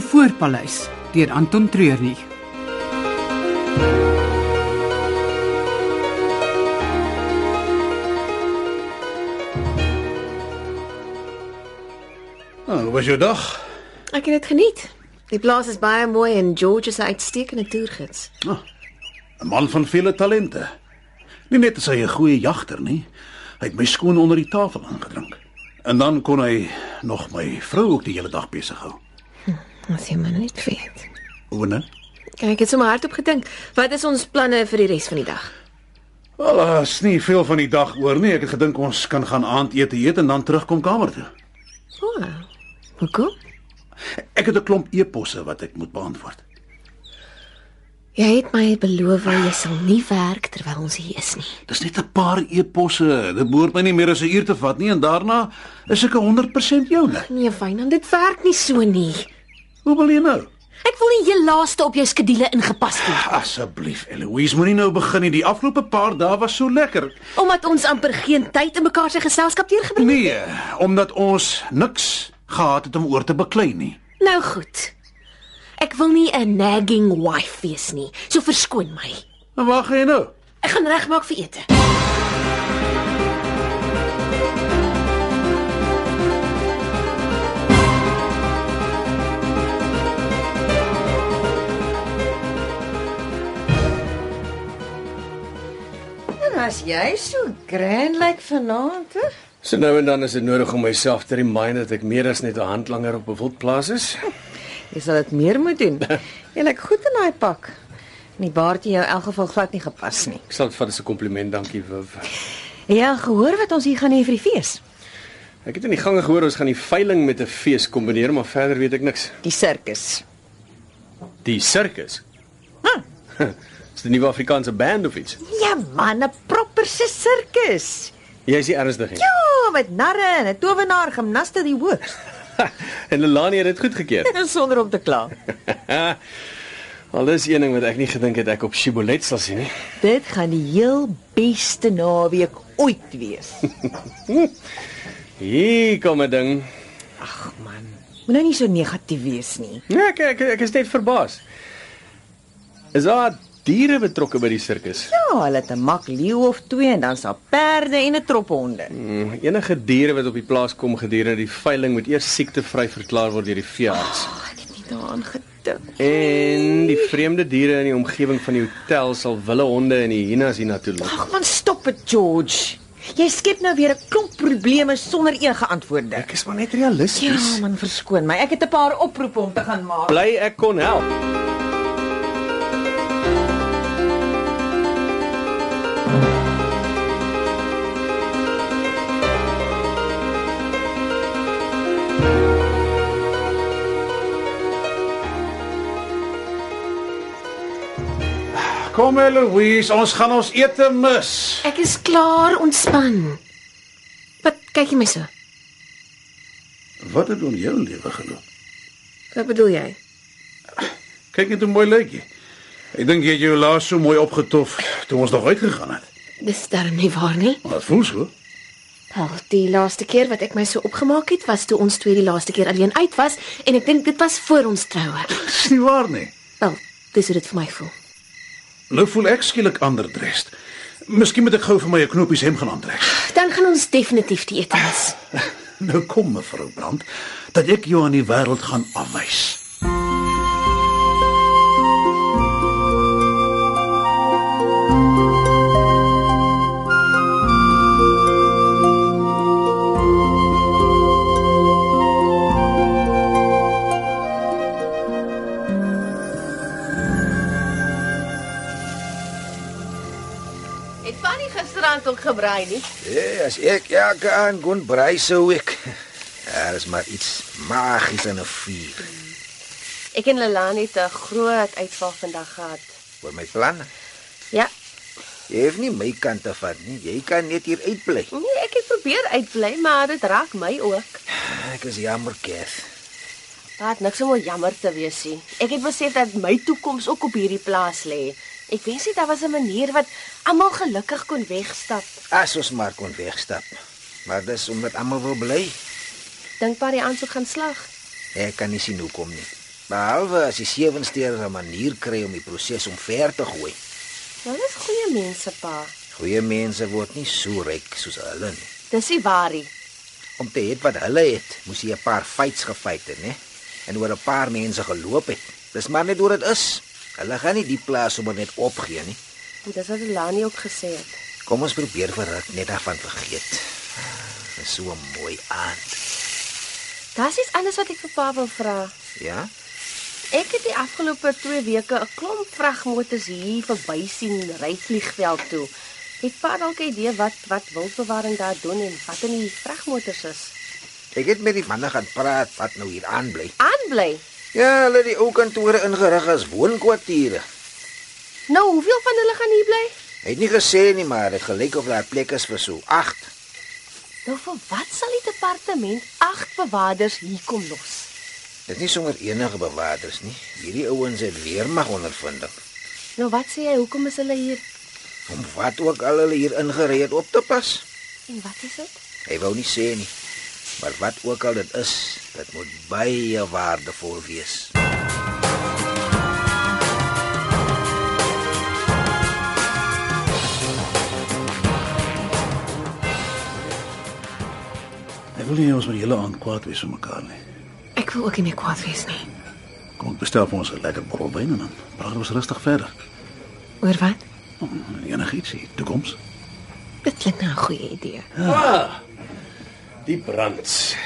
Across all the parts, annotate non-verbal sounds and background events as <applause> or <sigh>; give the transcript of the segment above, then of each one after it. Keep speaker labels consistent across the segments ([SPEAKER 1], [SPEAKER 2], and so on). [SPEAKER 1] Spoorpaleis deur Anton Treurnig.
[SPEAKER 2] Nou, hoe was jou dag?
[SPEAKER 3] Ek het dit geniet. Die plaas is baie mooi en George is 'n uitstekende toergids.
[SPEAKER 2] 'n Man van vele talente. Nie net is hy 'n goeie jagter nie, hy het my skoon onder die tafel aangedrink. En dan kon hy nog my vrou ook die hele dag besig hou.
[SPEAKER 3] As jy maar net weet.
[SPEAKER 2] Hoe nou?
[SPEAKER 3] Kyk, ek het sommer hardop gedink. Wat is ons planne vir die res van die dag?
[SPEAKER 2] Wel, daar's nie veel van die dag oor nie. Ek het gedink ons kan gaan aandete eet en dan terugkom kamer toe.
[SPEAKER 3] O. Oh, Hoekom?
[SPEAKER 2] Ek het 'n klomp e-posse wat ek moet beantwoord.
[SPEAKER 3] Jy het my beloof jy sal nie werk terwyl ons hier is nie.
[SPEAKER 2] Dis net 'n paar e-posse. Dit behoort my nie meer as 'n uur te vat nie en daarna is ek 100% joune.
[SPEAKER 3] Nee, Fynand, dit werk nie so nie.
[SPEAKER 2] Hoe wil jy nou?
[SPEAKER 4] Ek wil nie heel laaste op jou skedule ingepas word
[SPEAKER 2] Asseblief, Eloise, moenie nou begin nie. Die afgelope paar dae was so lekker.
[SPEAKER 4] omdat ons amper geen tyd in mekaar se geselskap deurgebring.
[SPEAKER 2] Nee, omdat ons niks gehad het om oor te beklei nie.
[SPEAKER 4] Nou goed. Ek wil nie 'n nagging wife wees nie. So verskoon my.
[SPEAKER 2] En wag jy nou?
[SPEAKER 4] Ek gaan regmaak vir ete.
[SPEAKER 3] En as jy so grand lyk like vanaand, hè?
[SPEAKER 5] So nou en dan is dit nodig om myself te remind dat ek meer as net 'n handlanger op 'n wildplaas is.
[SPEAKER 3] jy sal dit meer moet doen. Jy lyk goed in daai pak. En die baardjie jou in elk geval glad nie gepas nie.
[SPEAKER 5] Ek sal dit vat as 'n kompliment, dankie Wiv.
[SPEAKER 3] Ja, gehoor wat ons hier gaan hê vir die fees.
[SPEAKER 5] Ek het in die gange gehoor ons gaan die veiling met 'n fees kombineer, maar verder weet ek niks.
[SPEAKER 3] Die sirkus.
[SPEAKER 5] Die sirkus. <laughs> Is dit 'n nuwe Afrikaanse band of iets?
[SPEAKER 3] Ja man, 'n proper se sirkus.
[SPEAKER 5] Jy's nie ernstig nie.
[SPEAKER 3] Ja, met narre en 'n towenaar, gimnaste die hoogste. <laughs>
[SPEAKER 5] <laughs> en Lelani het dit goed gekeer.
[SPEAKER 3] Sonder om te kla.
[SPEAKER 5] Al is een ding wat ek nie gedink het ek op Shibboleth sal sien nie.
[SPEAKER 3] Dit gaan die heel beste naweek ooit
[SPEAKER 5] <laughs>
[SPEAKER 3] wees.
[SPEAKER 5] Hier kom 'n ding.
[SPEAKER 3] Ag man, moenie nou so negatief wees nie.
[SPEAKER 5] Nee, ek ek, ek is net verbaas. Is daar diere betrokke by die sirkus?
[SPEAKER 3] Ja, hulle het 'n mak leeu of twee en dan sal perde en 'n trop honde.
[SPEAKER 5] Mm, Enige diere wat op die plaas kom gedurende die veiling moet eers siektegevry verklaar word deur die veearts.
[SPEAKER 3] Ek het nie daaraan gedink.
[SPEAKER 5] En die vreemde diere in die omgewing van die hotel sal wille honde en die hyenas hiernatoe lok.
[SPEAKER 3] Ag man, stop dit, George. Jy skep nou weer 'n klomp probleme sonder enige antwoorde.
[SPEAKER 5] Ek is maar net
[SPEAKER 3] Ja
[SPEAKER 5] realisties.
[SPEAKER 3] man, verskoon my. Ek het 'n paar oproepe om te gaan maak.
[SPEAKER 5] Bly ek kon help.
[SPEAKER 2] Kom Eloise, ons gaan ons ete mis.
[SPEAKER 4] Ek is klaar ontspan. Wat kyk jy my so?
[SPEAKER 2] Wat het in jou lewe geloop?
[SPEAKER 3] Wat bedoel jy?
[SPEAKER 2] Kyk net hoe mooi lyk jy. Ek dink jy het jou laas so mooi opgetof toe ons nog uitgegaan het.
[SPEAKER 4] Dis darm nie waar nie.
[SPEAKER 2] Maar dit voel so.
[SPEAKER 4] Wel, die laaste keer wat ek my so opgemaak het, was toe ons twee die laaste keer alleen uit was en ek dink dit was voor ons troue.
[SPEAKER 2] Dis nie waar nie.
[SPEAKER 4] Wel, dis hoe dit vir my voel.
[SPEAKER 2] Nou voel ek skielik ander dressed. Miskien moet ek gou vir my 'n knoppies hemp gaan aantrek.
[SPEAKER 4] Dan gaan ons definitief die ete mis.
[SPEAKER 2] Nou kom mevrou Brand, dat ek jou aan die wêreld gaan afwys.
[SPEAKER 3] Het Fanny gisterand ook gebraai nie?
[SPEAKER 6] Ja, as ek elke aand kon brei sou ek. Daar is maar iets magies in 'n vuur.
[SPEAKER 3] Ek en Lelani het 'n groot uitval vandag gehad.
[SPEAKER 6] Wat my plan?
[SPEAKER 3] Ja,
[SPEAKER 6] Jy hoef nie my kant te vat nie. Jy kan net hier uitbly.
[SPEAKER 3] nee, ek het probeer uitbly, maar dit raak my ook.
[SPEAKER 6] Ek is jammer, Kees.
[SPEAKER 3] Daar het niks om oor jammer te wees nie. Ek het besef dat my toekoms ook op hierdie plaas lê. Ek wens net daar was 'n manier wat almal gelukkig kon wegstap.
[SPEAKER 6] As ons maar kon wegstap. Maar dis omdat almal wil bly.
[SPEAKER 3] Dink maar die aansoek gaan slag.
[SPEAKER 6] Ek kan nie sien hoekom nie. Behalwe as die sewensteer 'n manier kry om die proses omver te gooi.
[SPEAKER 3] Nou dis goeie mense, pa.
[SPEAKER 6] Goeie mense word nie so ryk soos hulle nie.
[SPEAKER 3] Dis die waarheid.
[SPEAKER 6] Om te hê wat hulle het, moes jy 'n paar fights gefight het, né? En oor 'n paar mense geloop het. Dis maar net hoe dit is. Hulle gaan nie die plaas sommer net opgee nie.
[SPEAKER 3] En dis wat Lani ook gesê het.
[SPEAKER 6] Kom ons probeer vir Ruk net daarvan vergeet. Dis so 'n mooi aand.
[SPEAKER 3] Daar's iets anders wat ek vir pa wil vra.
[SPEAKER 6] Ja?
[SPEAKER 3] Ek het die afgelope 2 weke 'n klomp vragmotors hier verby sien ry vliegveld toe. Het pa dalk 'n idee wat wat wildbewaring daar doen en wat in die vragmotors is?
[SPEAKER 6] Ek het met die manne gaan praat wat nou hier aanbly.
[SPEAKER 3] Aanbly.
[SPEAKER 6] Ja, hulle het die ou kantore ingerig as woonkwartiere.
[SPEAKER 3] Nou, hoeveel van hulle gaan hier bly?
[SPEAKER 6] Hy het nie gesê nie, maar dit gelyk of daar plek is vir so 8.
[SPEAKER 3] Nou vir wat sal die departement agt bewaarders hier kom los?
[SPEAKER 6] Dit is nie sommer enige bewakers nie. Hierdie ouens het weermag ondervinding.
[SPEAKER 3] Nou wat sê jy, hoekom is hulle hier?
[SPEAKER 6] Om wat ook al hulle hier ingery het op te pas.
[SPEAKER 3] En wat is dit?
[SPEAKER 6] Hy wou nie sê nie. Maar wat ook al dit is, dit moet baie waardevol wees.
[SPEAKER 2] Ek wil nie ons met julle aan kwaad wees vir mekaar nie.
[SPEAKER 4] Ek wil ook nie meer kwaad wees nie.
[SPEAKER 2] Kom ek bestel vir ons 'n lekker borrel wyn en dan praat ons rustig verder. Oh,
[SPEAKER 4] Oor wat?
[SPEAKER 2] Enigiets, die toekoms.
[SPEAKER 4] Dit klink na 'n goeie idee.
[SPEAKER 5] Die brand.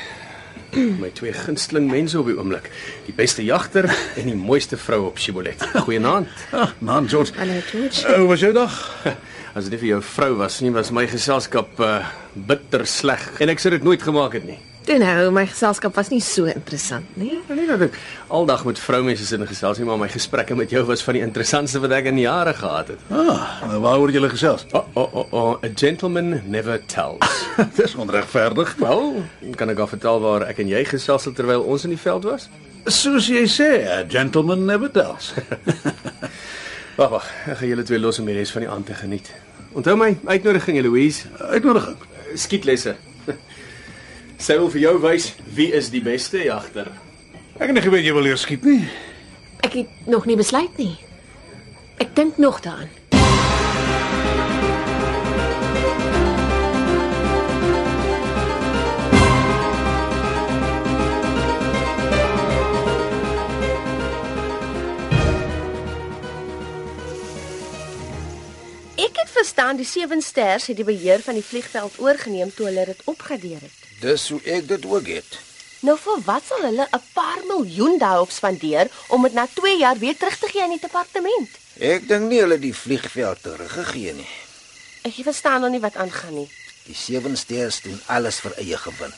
[SPEAKER 5] My twee gunsteling mense op die oomblik. Die beste jagter en die mooiste vrou op Shibboleth. Goeienaand.
[SPEAKER 2] Ah, man, George.
[SPEAKER 4] Hallo George.
[SPEAKER 2] Hoe was jou dag?
[SPEAKER 5] As dit nie vir jou vrou was nie, was my geselskap uh, bitter sleg en ek sou dit nooit gemaak het nie.
[SPEAKER 4] Toe nou, my geselskap was nie so interessant nie.
[SPEAKER 5] Nou, Nie dat ek aldag met vroumense sin gesels nie, maar my gesprekke met jou was van die interessantste wat ek in jare gehad het.
[SPEAKER 2] Ah, nou, waaroor het julle gesels?
[SPEAKER 5] O, oh, o, oh, o, oh, a gentleman never tells.
[SPEAKER 2] Ah, <laughs> Dis onregverdig.
[SPEAKER 5] <laughs> Wel, kan ek al vertel waar ek en jy gesels het terwyl ons in die veld was?
[SPEAKER 2] Soos jy sê, a gentleman never tells. Eh,
[SPEAKER 5] Wag, wag, ek gaan julle twee los om die res van die aand te geniet. Onthou my uitnodiging, Eloise,
[SPEAKER 2] Uitnodiging.
[SPEAKER 5] skietlesse. <laughs> Sy wil vir jou wys wie is die beste jagter.
[SPEAKER 2] Ek het nie geweet jy wil leer skiet nie.
[SPEAKER 4] Ek het nog nie besluit nie. Ek dink nog daaraan.
[SPEAKER 3] Ek het verstaan die Seven Sters het die beheer van die vliegveld oorgeneem toe hulle dit opgradeer het.
[SPEAKER 6] Dis hoe ek dit ook het.
[SPEAKER 3] Nou vir wat sal hulle 'n paar miljoen daarop spandeer om dit na 2 jaar weer terug te gee aan die departement?
[SPEAKER 6] Ek dink nie hulle het die vliegveld teruggegee nie.
[SPEAKER 3] Ek verstaan nog nie wat aangaan nie.
[SPEAKER 6] Die sewe steers doen alles vir eie gewin.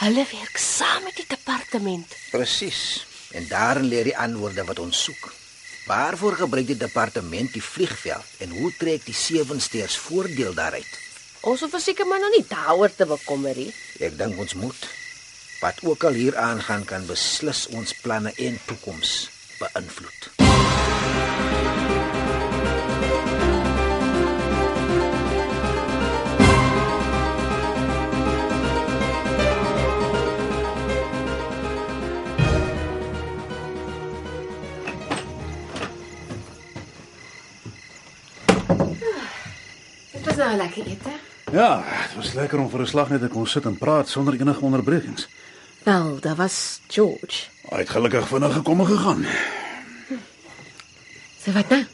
[SPEAKER 3] Hulle werk saam met die departement.
[SPEAKER 6] Presies. En daarin lê die antwoorde wat ons soek. Waarvoor gebruik die departement die vliegveld en hoe trek die sewe steers voordeel daaruit?
[SPEAKER 3] Ons hoef verseker maar nog nie daaroor te bekommer nie.
[SPEAKER 6] Ek dink ons moet wat ook al hier aangaan kan beslis ons planne en toekoms beïnvloed.
[SPEAKER 4] Dit was nou 'n lekker ete.
[SPEAKER 2] Ja, dit was lekker om vir 'n slag net te kon sit en praat sonder enige onderbrekings.
[SPEAKER 4] Wel, daar was George.
[SPEAKER 2] Hy het gelukkig vinnig gekom en gegaan.
[SPEAKER 4] So wat nou?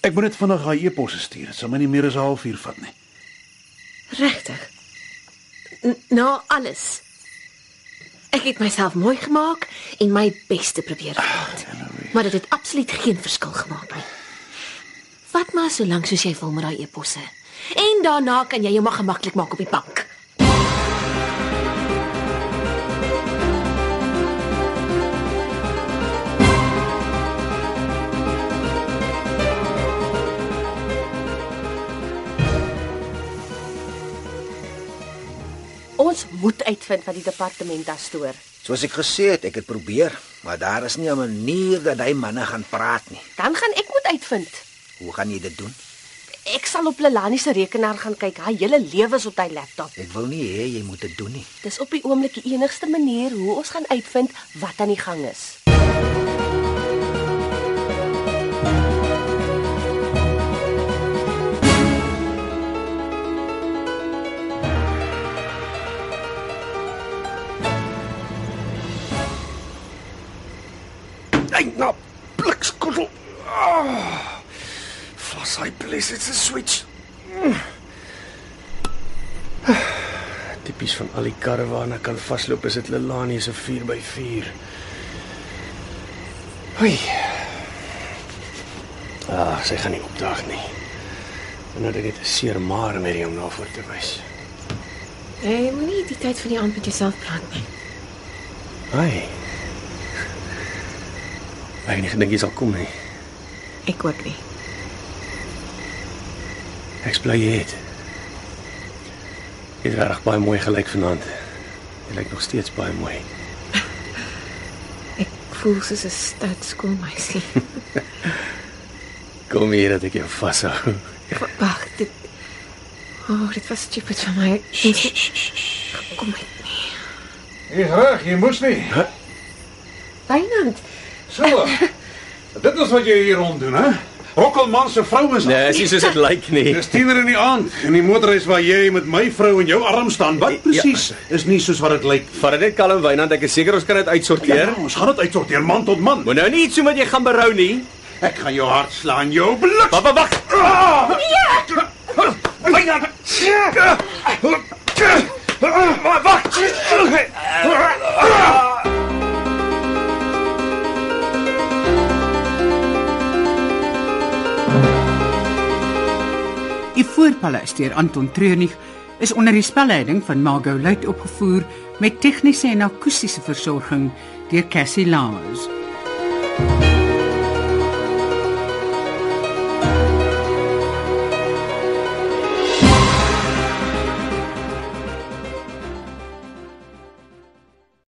[SPEAKER 2] Ek moet net vinnig daai e-posse stuur. Dit sal my nie meer as 'n halfuur vat nie.
[SPEAKER 4] Regtig. N- Na alles. Ek het myself mooi gemaak en my bes te probeer verkoop. Maar dit het absoluut geen verskil gemaak nie. Vat maar so lank soos jy wil met daai eposse. En daarna kan jy jou maar gemaklik maak op die bank.
[SPEAKER 3] Ons moet uitvind wat die departement daar stoor.
[SPEAKER 6] Soos ek gesê het, ek het probeer, maar daar is nie 'n manier dat hy manne gaan praat nie.
[SPEAKER 3] Dan gaan ek moet uitvind.
[SPEAKER 6] Hoe gaan jy dit doen?
[SPEAKER 3] Ek sal op Lelani se rekenaar gaan kyk. Haar hele lewe is op hy laptop.
[SPEAKER 6] Ek wil nie hê jy moet dit doen nie.
[SPEAKER 3] Dis op die oomblik die enigste manier hoe ons gaan uitvind wat aan die gang is.
[SPEAKER 5] Hey, nou, blikskottel. Ah. Flas hy please, it's a switch. Mm. Tipies van al die karre waarna kan vasloop is dit Lelani se 4x4. Hoi. Ah, sy gaan nie opdaag nie. En nou dit het 'n seer maar met hom na voor te wys.
[SPEAKER 4] Hey, Eh, moenie die tyd van die aand met jouself praat nie.
[SPEAKER 5] Hi. Ek het nie gedink jy sal kom nie.
[SPEAKER 4] Ek ook nie.
[SPEAKER 5] Ek bly jy het. Jy het reg baie mooi gelyk vanaand. Jy lyk nog steeds baie mooi.
[SPEAKER 4] Ek voel soos 'n stout <laughs> skoolmeisie.
[SPEAKER 5] Kom hier dat ek jou vashou.
[SPEAKER 4] Wa- Wag, dit Oh, dit was stupid van my. Kom met nie.
[SPEAKER 2] Ek reg, jy moes nie.
[SPEAKER 4] Wynand,
[SPEAKER 5] <laughs>
[SPEAKER 2] So. dit is wat jy hier rond doen, hè? Rokkelman se vrou is
[SPEAKER 5] Nee, is nie soos dit lyk nie.
[SPEAKER 2] Dis 10:00 in die aand en die motorreis waar jy met my vrou in jou arm staan. Wat
[SPEAKER 5] Ja.
[SPEAKER 2] presies is nie soos wat dit lyk.
[SPEAKER 5] Vat dit net kalm Wynand, ek is seker ons kan dit
[SPEAKER 2] Ja,
[SPEAKER 5] uitsorteer.
[SPEAKER 2] ons gaan dit uitsorteer man tot man.
[SPEAKER 5] Moet nou nie iets so met jy gaan berou nie.
[SPEAKER 2] Ek gaan jou hart slaan, jou blik. Ah!
[SPEAKER 5] Wag, wag, wag. Nee!
[SPEAKER 2] Wynand.
[SPEAKER 1] Die Voorpaleis deur Anton Treurnig is onder die spelleiding van Margot Luit opgevoer met tegniese en akoestiese versorging deur Cassie Lawrence.